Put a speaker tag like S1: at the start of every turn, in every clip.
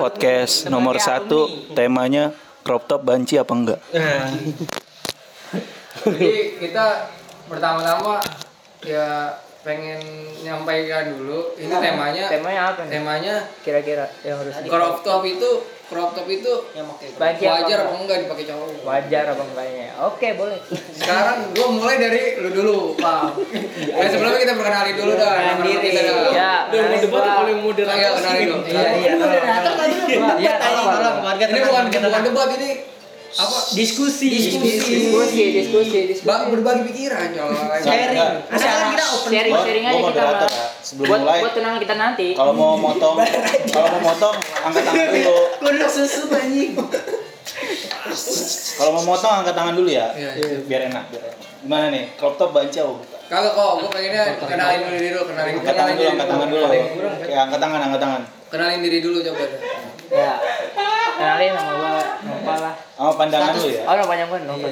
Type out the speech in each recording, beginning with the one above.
S1: podcast
S2: Sebagai
S1: nomor
S2: alumni.
S1: satu temanya crop top banci apa enggak
S2: Nah,
S3: Jadi kita pertama-tama ya pengen nyampaikan dulu ini temanya
S4: Iya. Temanya apa nih?
S3: temanya
S4: Kira-kira yang harus di-
S3: crop top itu crop top itu
S4: Banci apa
S3: wajar apa
S4: enggak?
S3: enggak dipakai cowok
S4: Wajar apa enggaknya? Oke, boleh.
S3: sekarang gua mulai dari lu dulu pak nah, sebelumnya kita perkenalin dulu dah nama-nama
S4: Diri.
S3: kita dah
S4: Ya,
S2: udah mau debat tuh paling moderator
S3: Ayo, kenalin dong.
S4: Iya.
S2: Iya, tolong, tolong, warga
S3: ini bukan bukan debat ini apa
S2: Diskusi.
S4: Diskusi, diskusi, diskusi.
S3: Bang berbagi pikiran coy
S2: Iya. Sharing. Asalkan
S4: Asalkan
S2: kita open.
S4: sharing,
S1: Gua-
S4: sharing
S1: gua
S4: aja kita
S1: moderator
S4: Bang.
S1: ya. Sebelum
S4: buat,
S1: mulai. Oh.
S4: buat tunangan kita nanti.
S1: kalau mau motong kalau mau motong angkat tangan dulu
S2: Kudu susu anjing.
S1: kalau mau motong angkat tangan dulu ya
S3: Iya, iya.
S1: biar enak biar enak gimana nih crop top banci apa bukan?
S3: kagak kok gua pengennya kenalin dulu diri dulu kenalin
S1: angkat tangan dulu angkat tangan dulu Oke,
S3: kenalin diri
S1: angkat tangan angkat tangan
S3: kenalin diri dulu coba deh.
S4: Ya. Kenalin nama gua Nova lah.
S1: sama pandangan lu ya
S4: Oh, namanya gua Nova.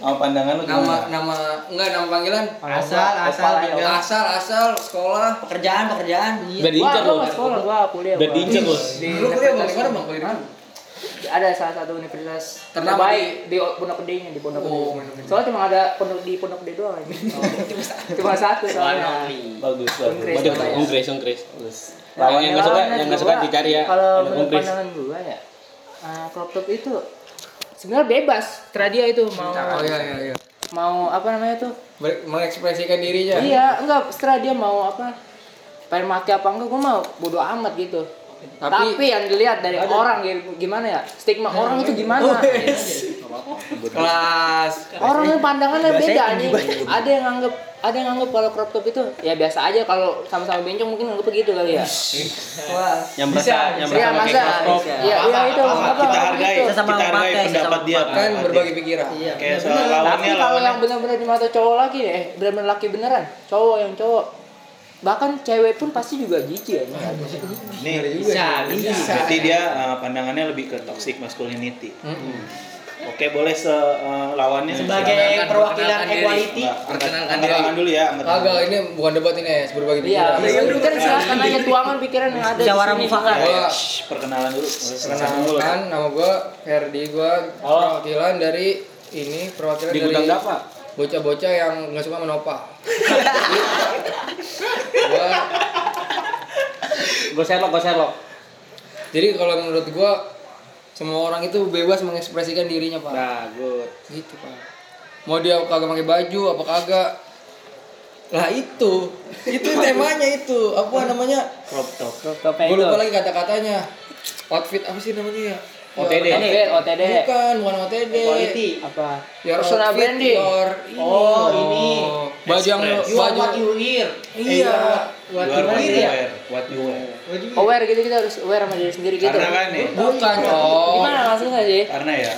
S1: sama pandangan lu
S3: nama
S1: gimana
S3: nama enggak nama panggilan
S2: Asal, asal, Iya. tinggal.
S3: asal asal sekolah
S2: Pekerjaan, pekerjaan. Iya.
S5: Udah
S4: Wah,
S5: diincar
S4: gua
S5: lo.
S4: nggak sekolah, gua kuliah.
S5: Udah
S4: gua.
S5: diincar lo.
S3: lu
S4: Di
S3: kuliah bang
S4: universitas-
S3: di mana bang kuliah di mana
S4: Ada salah satu universitas
S3: Ternama
S4: terbaik di Pondok Gede di Pondok Gede.
S3: Oh, Pondok Gede.
S4: Soalnya cuma ada pondok di Pondok Gede doang. ini. Cuma satu soalnya.
S1: bagus bagus
S4: Inggris.
S5: Waduh,
S4: Surabaya.
S5: Unggris, Unggris.
S4: Nah,
S5: Lawan yang nggak suka,
S4: lawannya
S5: yang nggak
S4: juga
S5: suka dicari ya.
S4: Kalau
S5: Ada
S4: menurut
S5: Unggris.
S4: pandangan gua ya, eh, crop top itu sebenarnya bebas. Terserah dia itu mau
S3: oh iya iya iya
S4: mau apa namanya tuh?
S3: Ber- mengekspresikan dirinya
S4: Iya, enggak setelah dia mau apa? Pengen maki apa enggak gua mau bodo amat gitu. Tapi,
S3: Tapi-
S4: yang dilihat dari orang gitu, gimana ya? Stigma
S1: Nah,
S4: orang
S1: iya.
S4: itu
S1: Oh,
S4: gimana?
S3: kelas
S4: orang yang pandangannya beda
S1: kan
S4: nih.
S1: ya?
S4: Ada yang anggap ada yang anggap kalau crop top itu ya biasa aja kalau sama-sama bencong mungkin anggap begitu kali ya.
S1: yang merasa yang merasa
S4: Iya,
S1: pakai
S4: masa?
S1: Iya, crop top
S4: Iya, iya itu. apa,
S1: kita
S4: orang
S1: hargai
S4: gitu.
S2: Sesama
S1: kita hargai
S2: memakai,
S1: pendapat
S2: sesama
S1: dia Nah,
S3: kan berbagi
S4: Iya.
S3: pikiran
S2: Iya.
S1: kayak soal lawannya
S4: Tapi kalau
S1: lawannya
S4: yang benar-benar di mata cowok lagi eh benar-benar laki beneran, cowok yang cowok. Bahkan cewek pun pasti juga jijik ya.
S1: nih
S2: Bisa, bisa.
S1: berarti dia eh, pandangannya lebih ke toxic masculinity oke boleh se eh, lawannya
S2: Sebagai
S3: Perkenalkan,
S2: perwakilan
S3: perkenalkan diri.
S2: equality.
S1: Enggak, angkat-
S3: Perkenalkan
S1: angkat tangan
S3: diri.
S1: dulu ya angkat tangan.
S3: kagak ini bukan debat ini es berbagi pikiran
S4: Iya, itu kan silahkan aja tuangan pikiran yang ada. di
S2: Musyawarah
S4: sini.
S2: mufakat.
S1: Ya,
S3: Gua-
S1: shh, perkenalan dulu
S5: Iya.
S1: perkenalan dulu
S3: Perkenalkan, kan? nama gue Ferdi, gue perwakilan dari ini perwakilan
S5: Oh. Di
S3: dari
S5: gudang apa?
S3: bocah-bocah yang nggak suka menopa. Gua-
S5: Gue Sherlock, gue Sherlock.
S3: jadi kalau menurut gue semua orang itu bebas mengekspresikan dirinya pak.
S5: Nah, good.
S3: Gitu pak. Mau dia kagak pakai baju apa kagak? Lah itu, itu temanya itu apa namanya?
S1: crop top
S4: Topeng
S3: Gue
S4: itu.
S3: lupa lagi kata-katanya. Outfit apa sih namanya ya?
S5: OTD.
S4: OTD, OTD.
S3: Bukan, bukan OTD.
S2: Equality.
S4: Apa?
S3: Your
S4: Personal
S3: outfit,
S4: branding.
S3: your
S2: Oh, ini.
S3: baju yang
S1: Express.
S2: You are
S3: baju
S2: what you wear.
S3: iya
S1: you
S2: What
S1: are
S2: you
S1: what
S2: wear
S1: you
S2: ya.
S1: wear what you wear
S4: Aware gitu kita harus aware sama diri sendiri gitu.
S1: karena kan nih
S3: bukan oh
S4: Gimana langsung aja?
S1: karena ya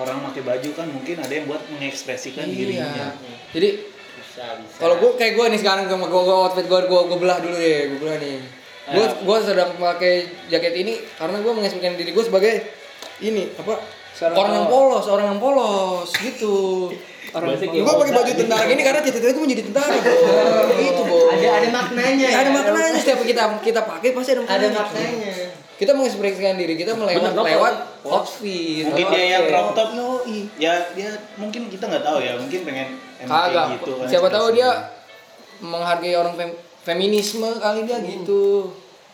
S1: orang pakai baju kan mungkin ada yang buat mengekspresikan
S3: iya
S1: dirinya
S3: jadi kalau gue kayak gue nih sekarang gue gue gue outfit gue gue gue belah dulu deh gue belah nih gue gue sedang pakai jaket ini karena gue mengekspresikan diri gue sebagai ini apa
S4: Seorang
S3: orang yang polos orang yang polos gitu
S4: Orang
S3: gue pakai baju tentara gini karena cita-cita gue menjadi tentara bro gitu bro
S2: Ada ada maknanya.
S3: ada
S2: ya.
S3: maknanya setiap kita kita pakai pasti ada
S2: Ada
S3: maknanya gitu.
S2: maknanya.
S3: kita mengekspresikan diri kita melewat lewat outfit
S1: mungkin dia yang
S3: Oke.
S1: crop top
S3: Yoi.
S1: ya dia mungkin kita nggak tahu ya mungkin pengen emang kayak
S3: kagak
S1: gitu kan
S3: siapa tahu dia
S1: ekspresinya.
S3: menghargai orang fem- feminisme kali
S1: Hmm.
S3: dia gitu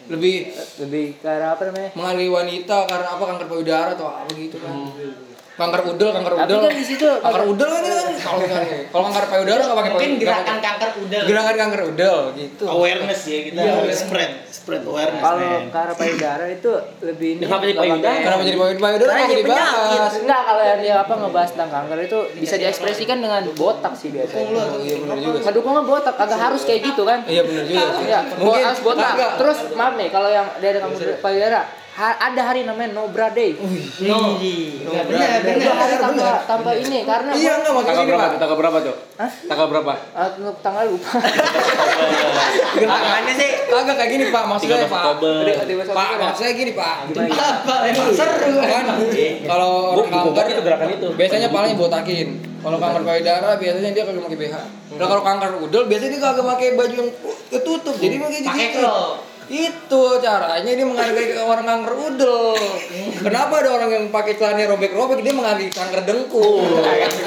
S3: lebih
S4: lebih ke arah apa namanya?
S3: menghargai wanita karena apa kanker payudara atau apa gitu kan
S1: Hmm.
S3: kanker udel kanker
S4: Tapi
S3: udel
S4: kan di situ
S3: kanker udel kan itu kan kalau kan kalau kanker payudara nggak pakai
S2: Mungkin
S3: payudara
S2: gerakan kanker udel.
S3: gerakan kanker udel gitu
S1: awareness ya kita spread spread awareness
S4: kalau
S1: men.
S4: ke arah payudara itu lebih ini.
S5: Kenapa jadi payudara?
S4: Kenapa
S3: kenapa jadi payudara payudara
S2: Karena
S3: kenapa
S2: dia
S3: dibahas
S4: Enggak kalau yang dia apa ngebahas tentang kanker itu bisa diekspresikan dengan botak sih biasanya.
S3: Oh, iya benar juga
S4: Ngedukungnya botak, agak harus kayak gitu kan?
S3: iya benar juga sih.
S4: Iya,
S3: Mungkin-
S4: botas botak.
S3: Kagak.
S4: Terus maaf nih kalau yang dari kamu Pak Yara, ha- ada hari namanya Nobra Day.
S2: No. Ya, Oh, iya. benar,
S4: Dan itu
S2: benar.
S4: hari tanpa tanpa ini karena
S3: iya
S4: gua-
S3: enggak maksudnya
S5: Tanggal
S3: gini
S5: berapa
S3: pak
S5: tuh? Tanggal berapa tuh?
S4: Hah?
S5: Tanggal berapa?
S4: Ah, tunggu, tanggal lupa.
S2: Apaan sih?
S3: kagak kayak gini pak maksudnya
S5: 13
S3: Iya, pak
S5: Oktober.
S3: Eh, Pak, maksudnya gini Pak.
S2: Apa? Emang seru.
S3: Kan
S2: Iya.
S3: kalau orang kanker
S5: itu gerakan itu.
S3: biasanya paling botakin. Kalau kanker payudara biasanya dia kagak pakai BH. Nah, kalau kanker udel biasanya dia kagak pakai baju yang ketutup. Jadi pakai
S2: Pakai
S3: gitu.
S2: klo.
S3: Itu caranya dia menghargai orang kanker udel. Kenapa ada orang yang pakai celananya robek-robek dia menghargai kanker dengkul?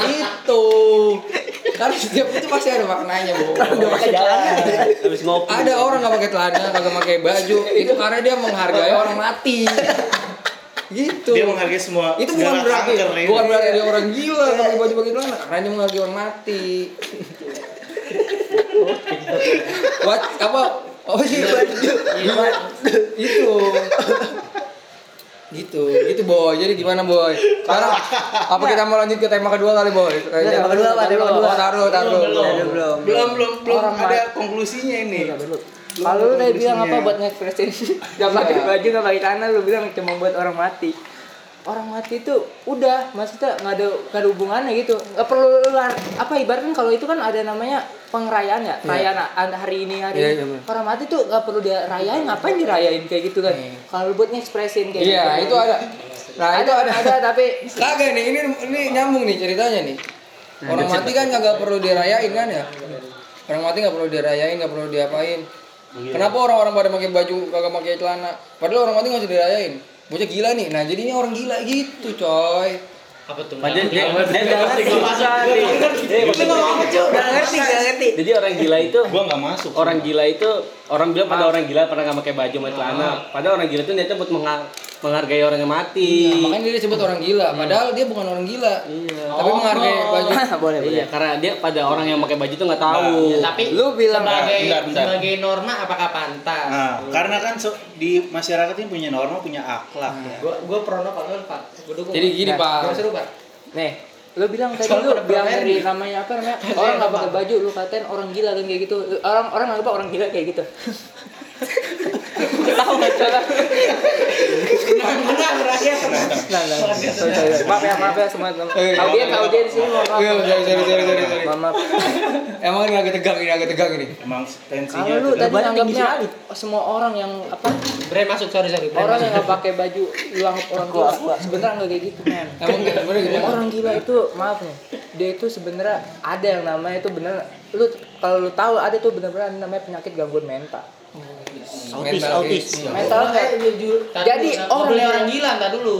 S3: itu. Kan setiap itu pasti ada maknanya, Bu.
S2: Iya.
S5: Habis ngopi.
S3: Ada orang nggak pakai celana, kagak pakai baju, itu karena dia menghargai orang mati. Gitu.
S1: Dia menghargai semua
S3: itu bukan
S1: segala
S3: berarti
S1: kanker, ya.
S3: bukan berarti dia orang gila
S5: Iya.
S3: nggak pakai baju pakai celana, karena dia menghargai orang mati. What apa? Oh sih
S5: Iya.
S3: itu gitu gitu boy jadi gimana boy sekarang apa kita mau lanjut ke tema kedua kali boy
S5: Iya, tema kedua apa? Tema kedua.
S3: Oh, taruh taruh
S5: Belum, belum.
S1: belum belum belum
S4: Orang
S1: ada konklusinya ini
S4: Iya, Kalau lu tadi bilang apa buat ngekspresin
S3: Iya.
S4: Gak pakai baju, gak pakai tanah, lu bilang cuma buat orang mati Orang mati itu udah, maksudnya gak ada, nggak ada hubungannya gitu Gak perlu, lu lar- apa ibaratkan kalau itu kan ada namanya pengerayaan ya Rayaan an- hari ini, hari
S3: Iya,
S4: ini
S3: iya, bener.
S4: Orang mati tuh gak perlu dia rayain, ngapain dirayain kayak gitu kan Kalau lu buat ngekspresin kayak
S3: iya
S4: gitu
S3: itu ada nah itu ada
S4: ada, tapi
S3: Kagak nih, ini ini nyambung nih ceritanya nih. Orang mati kan kagak perlu dirayain kan ya? Orang mati nggak perlu dirayain, nggak perlu diapain. Kenapa orang-orang pada pakai baju kagak pakai celana? Padahal orang mati nggak usah dirayain. Bocah gila nih. Nah, jadinya orang gila gitu, coy.
S2: Apa tuh?
S5: Padahal dia dia nggak ngerti.
S2: Lu ngomong apa, Cuk?
S4: Gak ngerti, gak ngerti
S5: Jadi orang gila itu
S1: gua nggak masuk
S5: orang gila itu orang bilang pada orang gila pernah nggak pakai baju sama celana. Padahal orang gila itu niatnya buat menga- menghargai orang yang mati.
S3: Nah, makanya dia disebut orang gila. Padahal dia bukan orang gila.
S5: Iya.
S3: Tapi menghargai baju.
S4: Boleh, boleh
S5: Iya, karena dia pada orang yang pakai baju itu nggak tahu.
S2: Tapi
S4: Lu bilang-
S2: sebagai
S1: Bentar, bentar.
S2: sebagai norma apakah pantas?
S1: nah karena kan so- di masyarakat ini punya norma punya akhlak ya.
S2: Gua gua prono kalau lu, Pak. Gua dukung.
S3: Jadi gini,
S4: Nah,
S3: Pak.
S2: Gua seru, Pak.
S4: Nih, lu bilang tadi
S2: Soalnya
S4: lu
S2: pada
S4: bilang
S2: permen.
S4: dari namanya apa
S3: Iya,
S4: namanya?
S2: Kasihan
S4: Orang nggak
S2: apa?
S4: pakai baju, lu katain orang gila kan kayak gitu. Lu- Orang orang nggak orang gila kayak gitu. Tahu nggak cara?
S2: Menang rakyat.
S4: Nah, nah, nah. Sorry, sorry, sorry. Maaf ya, maaf ya semua. teman.
S3: Eh,
S4: Audiens, audiens ini mohon maaf.
S3: Iya, sorry, sorry, sorry, sorry, sorry.
S4: Mohon maaf.
S3: Emang ini agak tegang ini, agak tegang ini.
S1: emang tensinya
S4: Kalau lu
S1: tetap-
S4: tadi anggapnya semua orang yang apa?
S2: Bre masuk sorry sorry. Bre,
S4: Orang
S2: masuk.
S4: yang nggak pakai baju, lu anggap orang gila. Sebenarnya nggak kayak gitu, men.
S3: Emang gimana gitu?
S4: orang gila itu maaf nih dia itu sebenarnya ada yang namanya itu bener lu kalau lu tahu ada tuh bener-bener ada namanya penyakit gangguan mental
S3: Autis, autis.
S2: Eh,
S4: mental kayak
S2: ju- ju- tar
S4: Jadi
S2: dulu,
S4: orang-
S2: ngobrolin orang gila entar dulu.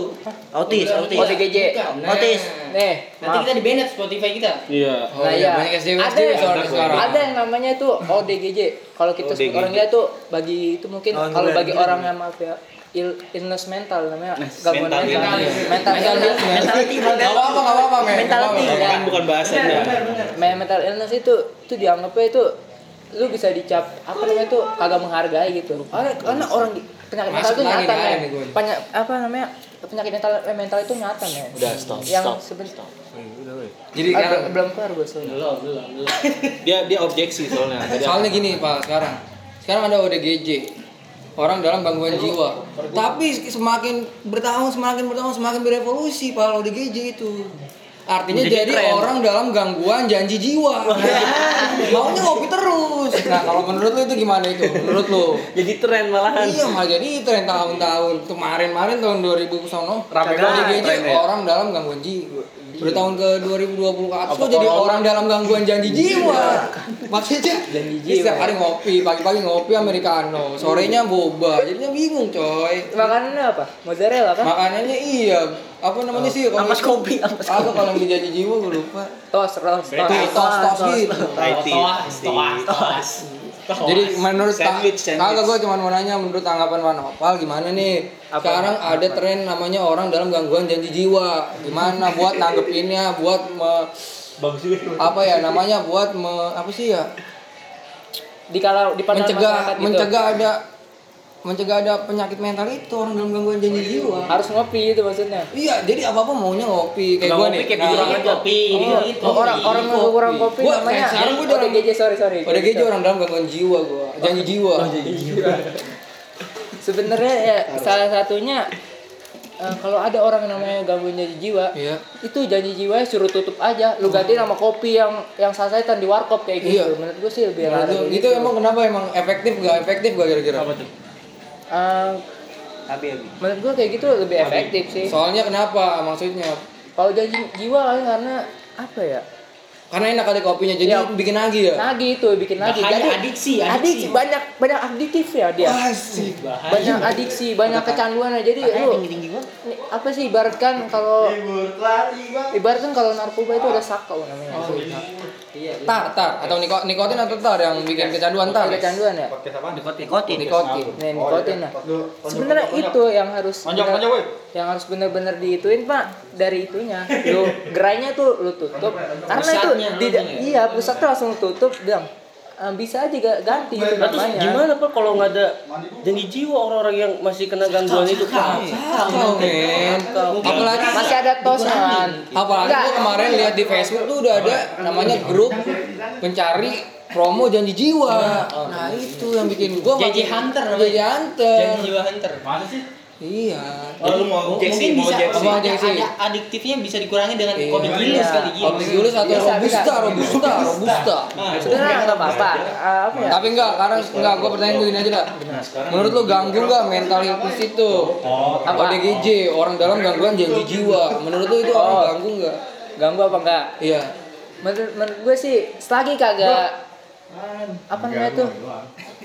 S6: Autis,
S2: Ngobrolin
S6: autis.
S2: orang
S4: OTGJ.
S2: gila. Bukan.
S6: Autis.
S2: Nah,
S4: nih
S2: Nanti
S4: maaf
S2: kita di banned Spotify kita.
S5: Iya.
S3: Oh,
S4: nah
S3: iya,
S4: ya
S3: banyak SDW
S4: ada
S3: SDW soalnya sekarang.
S4: ada yang namanya tuh ODGJ kalau kita sebut orang gila tuh bagi itu mungkin
S1: Oh,
S4: kalau bagi orang yang maaf ya ill- illness mental namanya gangguan
S1: mental iya.
S4: mental mental
S1: illness.
S4: mental illness.
S3: Gak apa-apa, gak apa-apa, men.
S4: Mentality,
S3: Gak apa-apa.
S1: kan bukan bahasanya
S4: Me- mental illness itu itu dianggapnya itu lu bisa dicap apa namanya tuh kagak menghargai gitu karena, karena orang di- penyakit mental
S3: Masuk gitu.
S4: itu
S3: lagi
S4: nyata
S3: nih,
S4: men
S3: nih gue.
S4: Penya- apa namanya penyakit mental mental itu nyata men udah stop yang sebentar
S3: Jadi
S4: Ah,
S3: sekarang
S4: belum- belum keluar gue soalnya
S2: Belum, belum, belum.
S1: dia dia objeksi soalnya Jadi
S3: Soalnya gini Pak, sekarang sekarang ada ODGJ orang dalam gangguan jiwa. Tapi semakin bertahun semakin bertahun semakin berevolusi Pak ODGJ itu. Artinya jadi orang dalam gangguan janji jiwa. Maunya ngopi terus. Nah, kalau menurut lu itu gimana itu? Menurut lu?
S5: Jadi tren malahan.
S3: Iya, malah jadi tren tahun-tahun. Kemarin-marin tahun 2000 ke sono,
S5: Rame banget
S3: ODGJ
S5: trennya.
S3: orang dalam gangguan jiwa. Udah tahun ke 2020 ke atas kok jadi Iya. orang dalam gangguan janji jiwa. Maksudnya janji jiwa. Iya. Setiap hari ngopi, pagi-pagi ngopi americano, sorenya boba. Jadinya bingung, coy.
S4: makanannya apa mozzarella kan
S3: Makanannya iya, apa namanya sih? Ampas kopi, ampas kopi. Apa kalau yang dijanji jiwa gue lupa.
S4: tos tos tos
S3: Kayak tos-tos gitu.
S1: IT
S2: Toas, toas, toas. Toas.
S3: Jadi menurut ta-
S1: Sandwich, sandwich.
S3: kagak gue cuma mau nanya menurut tanggapan Wan Opal gimana nih? Sekarang ada tren namanya orang dalam gangguan janji jiwa. Gimana buat nanggepinnya, buat me-
S5: Bagus juga.
S3: apa ya namanya buat me- apa sih ya?
S4: di kalau di pandangan
S3: mencegah
S4: masyarakat gitu.
S3: mencegah ada mencegah ada penyakit mental itu orang dalam gangguan janji jiwa.
S4: harus ngopi itu maksudnya
S3: Iya, jadi apa-apa maunya ngopi kayak
S5: Nggak
S3: gue
S5: ngopi
S3: nih.
S5: kayak
S3: Nah,
S5: bilang
S2: Ini
S5: aja.
S2: kopi, gitu. ini itu.
S4: iya. Oh, orang
S3: iya,
S4: orang yang kurang kopi
S3: Gua-
S4: namanya
S3: sekarang gua dalam-
S4: ODGJ sorry sorry
S3: Udah gitu orang dalam gangguan jiwa gue, janji jiwa.
S4: sebenarnya ya salah satunya eh, kalau ada orang yang namanya gangguan janji jiwa
S3: Iya.
S4: itu janji jiwanya suruh tutup aja lu ganti nama kopi yang yang sasetan di warkop kayak gitu
S3: Iya.
S4: menurut gue sih lebih gitu.
S3: Nah,
S4: ragu
S3: itu, itu emang kenapa emang efektif gak efektif gak kira-kira?
S4: Eh, menurut gue kayak gitu lebih efektif sih
S3: Soalnya kenapa maksudnya?
S4: kalau janji jiwa kan karena apa ya
S3: Karena enak ada kopinya, jadi
S4: Iya.
S3: bikin lagi ya.
S4: Lagi itu bikin lagi.
S2: Bahaya
S4: Jadi
S2: adiksi, adiksi.
S4: adiksi, banyak banyak adiktif ya dia.
S3: Asik.
S2: Bahaya.
S4: Banyak adiksi, banyak kecanduan ya. Jadi lu Ini apa sih ibaratkan kalau ibaratkan kalau narkoba itu ada sakau namanya.
S3: Tar, tar atau niko- nikotin atau tar yang bikin kecanduan tar.
S4: kecanduan ya.
S5: Nikotin.
S3: Nikotin.
S4: Nih, nikotin lah. Sebenarnya itu yang harus bener- yang harus benar-benar diituin Pak dari itunya. Lu gerainya tuh lu tutup. Karena itu
S2: Pusatnya
S4: tidak
S2: namanya.
S4: iya pusat tuh langsung tutup, Bang. Eh, bisa aja ga- ganti itu
S5: Nah, terus
S4: namanya.
S5: gimana pak kalau nggak ada janji jiwa orang-orang yang masih kena gangguan itu
S4: kan.
S5: pak?
S3: Kacau men.
S1: Nah,
S3: Apalagi
S4: Masih ada tosan.
S3: apalagi
S4: Enggak.
S3: gua kemarin lihat di Facebook tuh udah ada namanya grup pencari promo janji jiwa. Nah, itu yang bikin gua
S2: Janji
S3: makin-
S2: hunter namanya.
S3: Janji hunter.
S2: Jangan jiwa hunter.
S3: Iya.
S1: Oh, lu mau
S2: Mungkin
S1: objeksi, mau
S2: bisa-
S1: objeksi.
S3: Apa objeksi?
S2: Ada adiktifnya bisa dikurangi dengan
S3: Iya.
S2: kopi gilis kali gilis.
S3: Kopi dulu satu
S4: Bisa,
S3: robusta,
S4: bisa.
S3: robusta, robusta.
S2: Nah,
S4: Sebenarnya nggak apa-apa. Eh, apa ya?
S3: Tapi enggak, karena enggak gua pertanyaan gua gini aja dah. Menurut lu ganggu enggak mental illness itu? Apa DGJ, orang dalam gangguan janji jiwa. Menurut lu itu orang
S4: Oh.
S3: ganggu enggak?
S4: Ganggu apa enggak?
S3: Iya.
S4: Menurut, menurut gue sih selagi kagak apa namanya tuh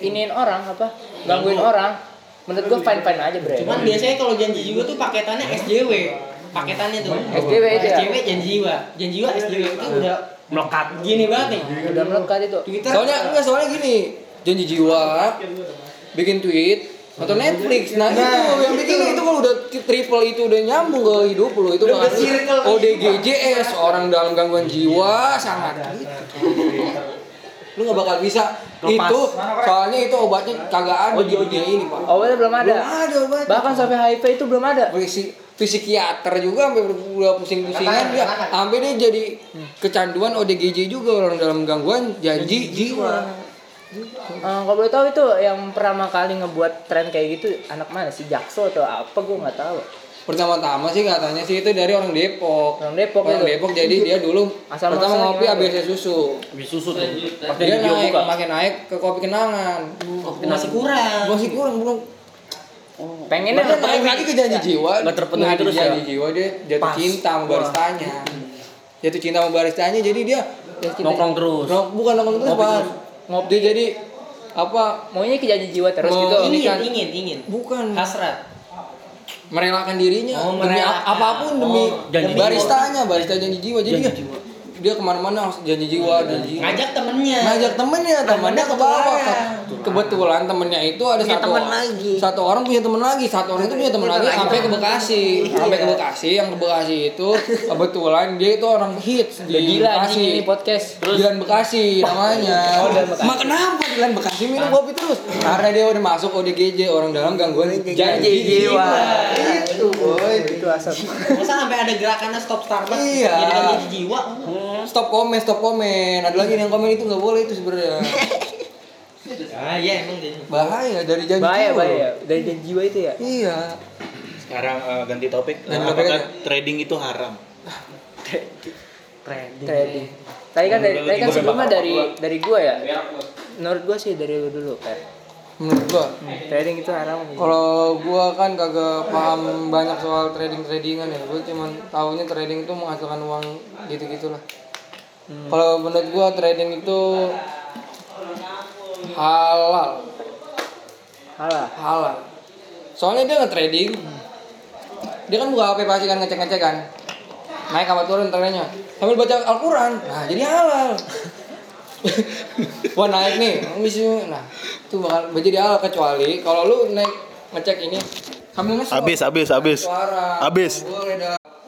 S4: iniin orang apa gangguin orang menurut gue fine fine aja bre
S2: Cuman biasanya kalau janji jiwa tuh paketannya SJW. Paketannya tuh.
S4: SJW itu ya? Iya.
S2: SJW janji jiwa. Janji jiwa SJW itu udah melekat. Gini banget nih.
S4: udah melekat itu
S2: Twitter.
S3: Soalnya enggak soalnya gini, janji jiwa bikin tweet atau Netflix. Nah, itu yang bikin itu kalau udah triple itu udah nyambung ke hidup lu itu baru ODGJS orang dalam gangguan jiwa sangat gitu. Lu nggak bakal bisa itu soalnya itu obatnya kagak ada di dunia ini, Pak.
S4: awalnya belum ada
S3: Belum ada obatnya.
S4: bahkan sampai HIV itu belum ada
S3: Berisi psikiater juga sampai udah pusing-pusingan dia sampai dia jadi
S5: Hmm.
S3: kecanduan ODGJ juga orang dalam gangguan janji Iya. jiwa.
S4: Eh, kalau boleh tahu itu yang pertama kali ngebuat tren kayak gitu anak mana si Jakso atau apa gue nggak tahu
S3: pertama-tama sih katanya sih itu dari orang Depok
S4: orang Depok
S3: orang
S4: itu
S3: Depok jadi dia dulu
S4: Asal
S3: pertama
S4: muasal
S3: ngopi
S4: gimana?
S3: ABC susu
S5: Habis susu tuh. Pas
S3: dia
S5: janji jiwa
S3: naik
S5: buka. Oh.
S3: makin naik ke kopi kenangan
S2: masih kurang.
S3: masih kurang belum
S4: pengennya
S3: dia naik lagi ke janji jiwa
S5: Iya. Nggak terpenuhi
S3: Nah, di
S5: terus ya?
S3: janji jiwa dia jatuh
S5: Pas.
S3: cinta sama baristanya jatuh cinta sama baristanya jadi dia
S5: Nongkrong terus.
S3: Nong- Nah, bukan nongkrong terus
S5: Ngopi
S3: Pak.
S5: terus.
S3: ngopi dia jadi apa
S4: maunya ke janji jiwa terus
S3: Mau
S4: gitu
S3: ini
S2: Ingin,
S3: kan.
S2: ingin, ingin.
S3: bukan
S2: Hasrat.
S3: merelakan dirinya
S2: Oh,
S3: demi
S2: merelakan.
S3: ap- apapun demi
S2: Oh,
S5: janji
S3: baristanya barista janji jiwa jadi
S5: Janji
S3: dia, dia kemana-mana harus janji jiwa janji jiwa
S2: Ngajak temennya.
S3: ngajak temennya temennya ke bawah
S2: kebetulan.
S3: kebetulan temennya itu ada satu satu orang punya temen lagi satu orang itu punya temen lagi sampai ke Bekasi sampai ke Bekasi yang ke Bekasi itu kebetulan dia itu orang hits di
S4: Udah gila
S3: Bekasi
S4: anjing ini podcast
S3: Dilan Bekasi namanya.
S4: Oh,
S3: Mak kenapa Dilan Bekasi minum
S4: Nah.
S3: kopi terus? Karena dia udah masuk ODGJ orang dalam gangguan janji
S4: jiwa. Iya.
S3: Itu boy.
S4: itu asal
S2: Masa sampai ada gerakannya stop Starbucks
S3: Iya.
S2: jadi janji jiwa.
S3: Stop komen, stop komen. Ada lagi yang komen itu nggak boleh itu sebenarnya.
S2: Ah iya emang jadi.
S3: Bahaya dari janji
S4: bahaya
S3: jiwa.
S4: bahaya dari janji jiwa itu ya
S3: Iya.
S1: Sekarang eh, ganti topik. Eh,
S3: Ganti topik ya?
S1: apakah
S3: aja.
S1: trading itu haram?
S4: trading. Tadi kan dari, tadi kan
S1: Beberapa
S4: sebelumnya dari dari gua ya. Menurut gua sih dari lu dulu kan.
S3: Menurut gua,
S4: Trading itu haram.
S3: Oh.
S4: gitu.
S3: kalau gua kan kagak paham banyak soal trading-tradingan ya. Gua cuman tahunya trading itu menghasilkan uang gitu-gitulah.
S4: Hmm.
S3: Kalau menurut gua trading itu halal.
S4: Halah.
S3: halal soalnya dia nge-trading dia kan buka HP pasti kan ngecek-ngecek kan naik apa turun trennya sambil baca Al-Quran nah jadi halal wah naik nih bisa nah itu bakal jadi halal kecuali kalau lu naik ngecek ini sambil nge
S1: Abis, abis, abis.
S3: suara
S1: Abis.
S3: Nggak boleh.